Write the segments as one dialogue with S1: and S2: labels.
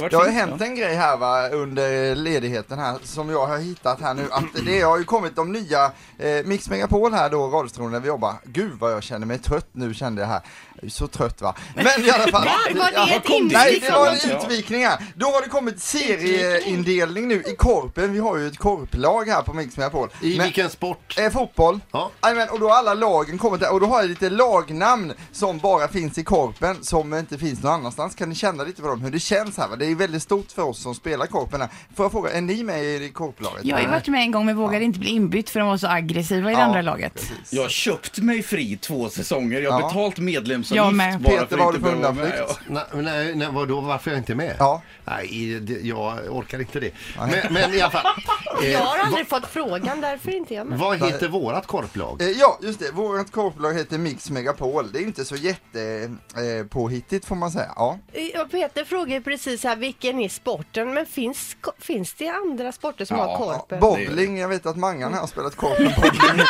S1: varit
S2: Det har ju
S1: fint,
S2: hänt en grej här va, under ledigheten här som jag har hittat här nu. Att det har ju kommit de nya eh, Mix Megapol här då, radiostationen där vi jobbar. Gud vad jag känner mig trött nu kände jag här. Jag är så trött va. Men i alla fall.
S3: Va? Var det
S2: Ja.
S3: ett invikning?
S2: Nej, det var en
S1: Ja.
S2: utvikning här. Då har det kommit serieindelning nu i korpen. Vi har ju ett korplag här på Mix Megapol.
S4: I
S2: Men-
S4: vilken sport?
S2: Eh, fotboll.
S4: Ja.
S2: Jajamän, och då har alla lagen kommit där och då har jag lite lagnamn som bara finns i korpen som inte finns någon annanstans. Kan ni känna lite på dem hur det känns här va? Det är väldigt stort för oss som spelar korpen här. Får jag fråga, är ni med i korplaget?
S3: Jag har ju varit med en gång men vågade inte bli inbytt för de var så aggressiva i det
S2: Ja,
S3: andra laget.
S2: precis.
S1: Jag har köpt mig fri två säsonger. Jag har
S2: Ja.
S1: betalt
S3: Jag
S1: medlemsavgift
S3: med.
S1: bara
S2: Peter,
S1: för
S2: vad
S1: att
S2: har
S1: inte
S2: du för
S1: behöva vara med.
S2: undanflykt?
S4: Nej, nej, nej, vadå, varför jag inte är med?
S2: Ja.
S4: Nej, det- jag orkar inte det. Men, men i alla fall.
S5: Jag
S4: Eh,
S5: har aldrig fått frågan, därför är inte jag med.
S4: vad heter vårat korplag?
S2: Eh, Ja, just det. Vårt korplag heter Mix Megapol. Det är inte så jätte eh, påhittigt får man säga. Ja.
S5: Eh, Peter frågade precis här, vilken är sporten? Men finns, ko- finns det andra sporter som
S1: Ja,
S5: har korpen?
S2: Bowling, jag vet att Mangan här har spelat korpen. Bowling.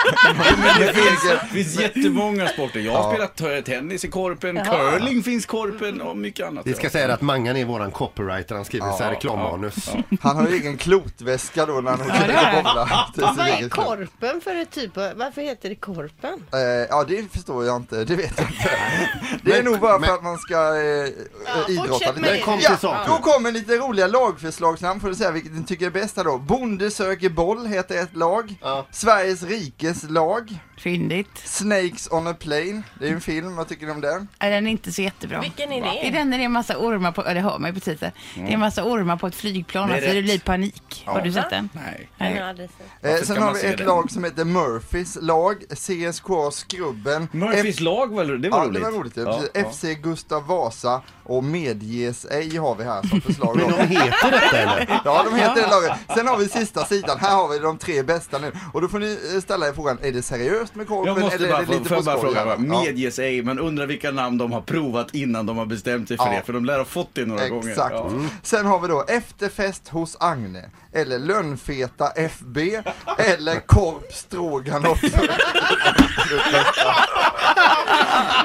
S1: Det finns, finns jättemånga sporter. Jag har spelat t- tennis i korpen, curling finns korpen och mycket annat.
S4: Vi ska säga att Mangan är våran copywriter, han skriver så här
S1: Ja,
S4: reklammanus.
S2: Han har ju egen klotväska då när han åker
S3: det har
S2: ut och
S3: han.
S2: bowlar. till sin
S5: Vad är
S2: egen klubb.
S5: korpen för ett typ av, varför heter det korpen?
S2: Eh, ja det förstår jag inte, det vet jag inte. Det är nog bara
S4: men-
S2: för att man ska eh, eh, idrotta
S5: fortsätt
S2: lite.
S5: med
S4: Men kom till
S2: Ja,
S4: saken.
S2: då kommer lite roliga lagförslagsnamn får du säga vilket ni tycker är bäst här då. Bonde söker boll heter ett lag.
S4: Ja.
S2: Sveriges rikes lag.
S3: Fyndigt.
S2: Snakes on a plane. Det är en film, vad tycker ni om den?
S3: Nej, Den är inte så jättebra.
S5: Vilken är
S3: I
S5: det?
S3: den är det en massa ormar på, ja, det hör man ju på titeln.
S2: Mm.
S3: Det är en massa ormar på ett flygplan
S1: Det är
S3: och så det
S1: rätt.
S3: blir panik. Har du sett den?
S1: Nej.
S5: Jag
S3: Nej.
S5: har aldrig sett.
S2: Eh,
S1: Varför ska
S2: sen har
S1: man
S2: vi
S1: se
S2: ett
S1: den?
S2: lag som heter Murphys lag. CSKA Skrubben.
S1: Murphys lag, var, det var
S2: ja,
S1: roligt.
S2: det var roligt.
S1: Ja,
S2: Ja,
S1: ja.
S2: FC Gustav Vasa och Medges ej har vi här som förslag.
S4: Men
S2: då.
S4: de heter Ah. detta eller?
S2: Ja, de heter det laget. Sen har vi sista sidan, här har vi de tre bästa nu. Och då får ni eh, ställa er frågan, är det seriöst med korpen
S1: Jag måste
S2: eller är
S1: bara,
S2: det lite
S1: får
S2: på
S1: jag bara
S2: skoj?
S1: fråga, va?
S2: Ja.
S1: medges ej, men undrar vilka namn de har provat innan de har bestämt sig för
S2: Ja.
S1: det, för de lär ha fått det några gånger.
S2: Exakt. Mm.
S1: Ja.
S4: Mm.
S2: Sen har vi då efterfest hos Agne, eller lönnfeta FB, eller korp stroganoff.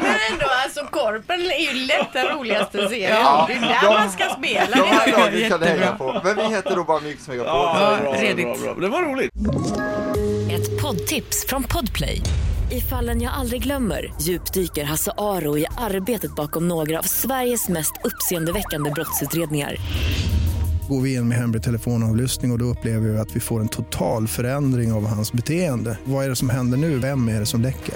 S5: Men ändå, alltså korpen är ju lätt den roligaste serien.
S2: Ja.
S5: det är där
S2: De-
S5: man ska spela.
S2: De här lagen kan ni
S3: Jättebra.
S2: heja på. Men vi heter då bara Mix Megapol.
S1: Ja, bra,
S3: redigt.
S1: bra, bra. Det var roligt.
S6: Ett poddtips från Podplay. I fallen jag aldrig glömmer djupdyker Hasse Aro i arbetet bakom några av Sveriges mest uppseendeväckande brottsutredningar.
S7: Går vi in med hemlig telefonavlyssning och, och då upplever vi att vi får en total förändring av hans beteende. Vad är det som händer nu? Vem är det som läcker?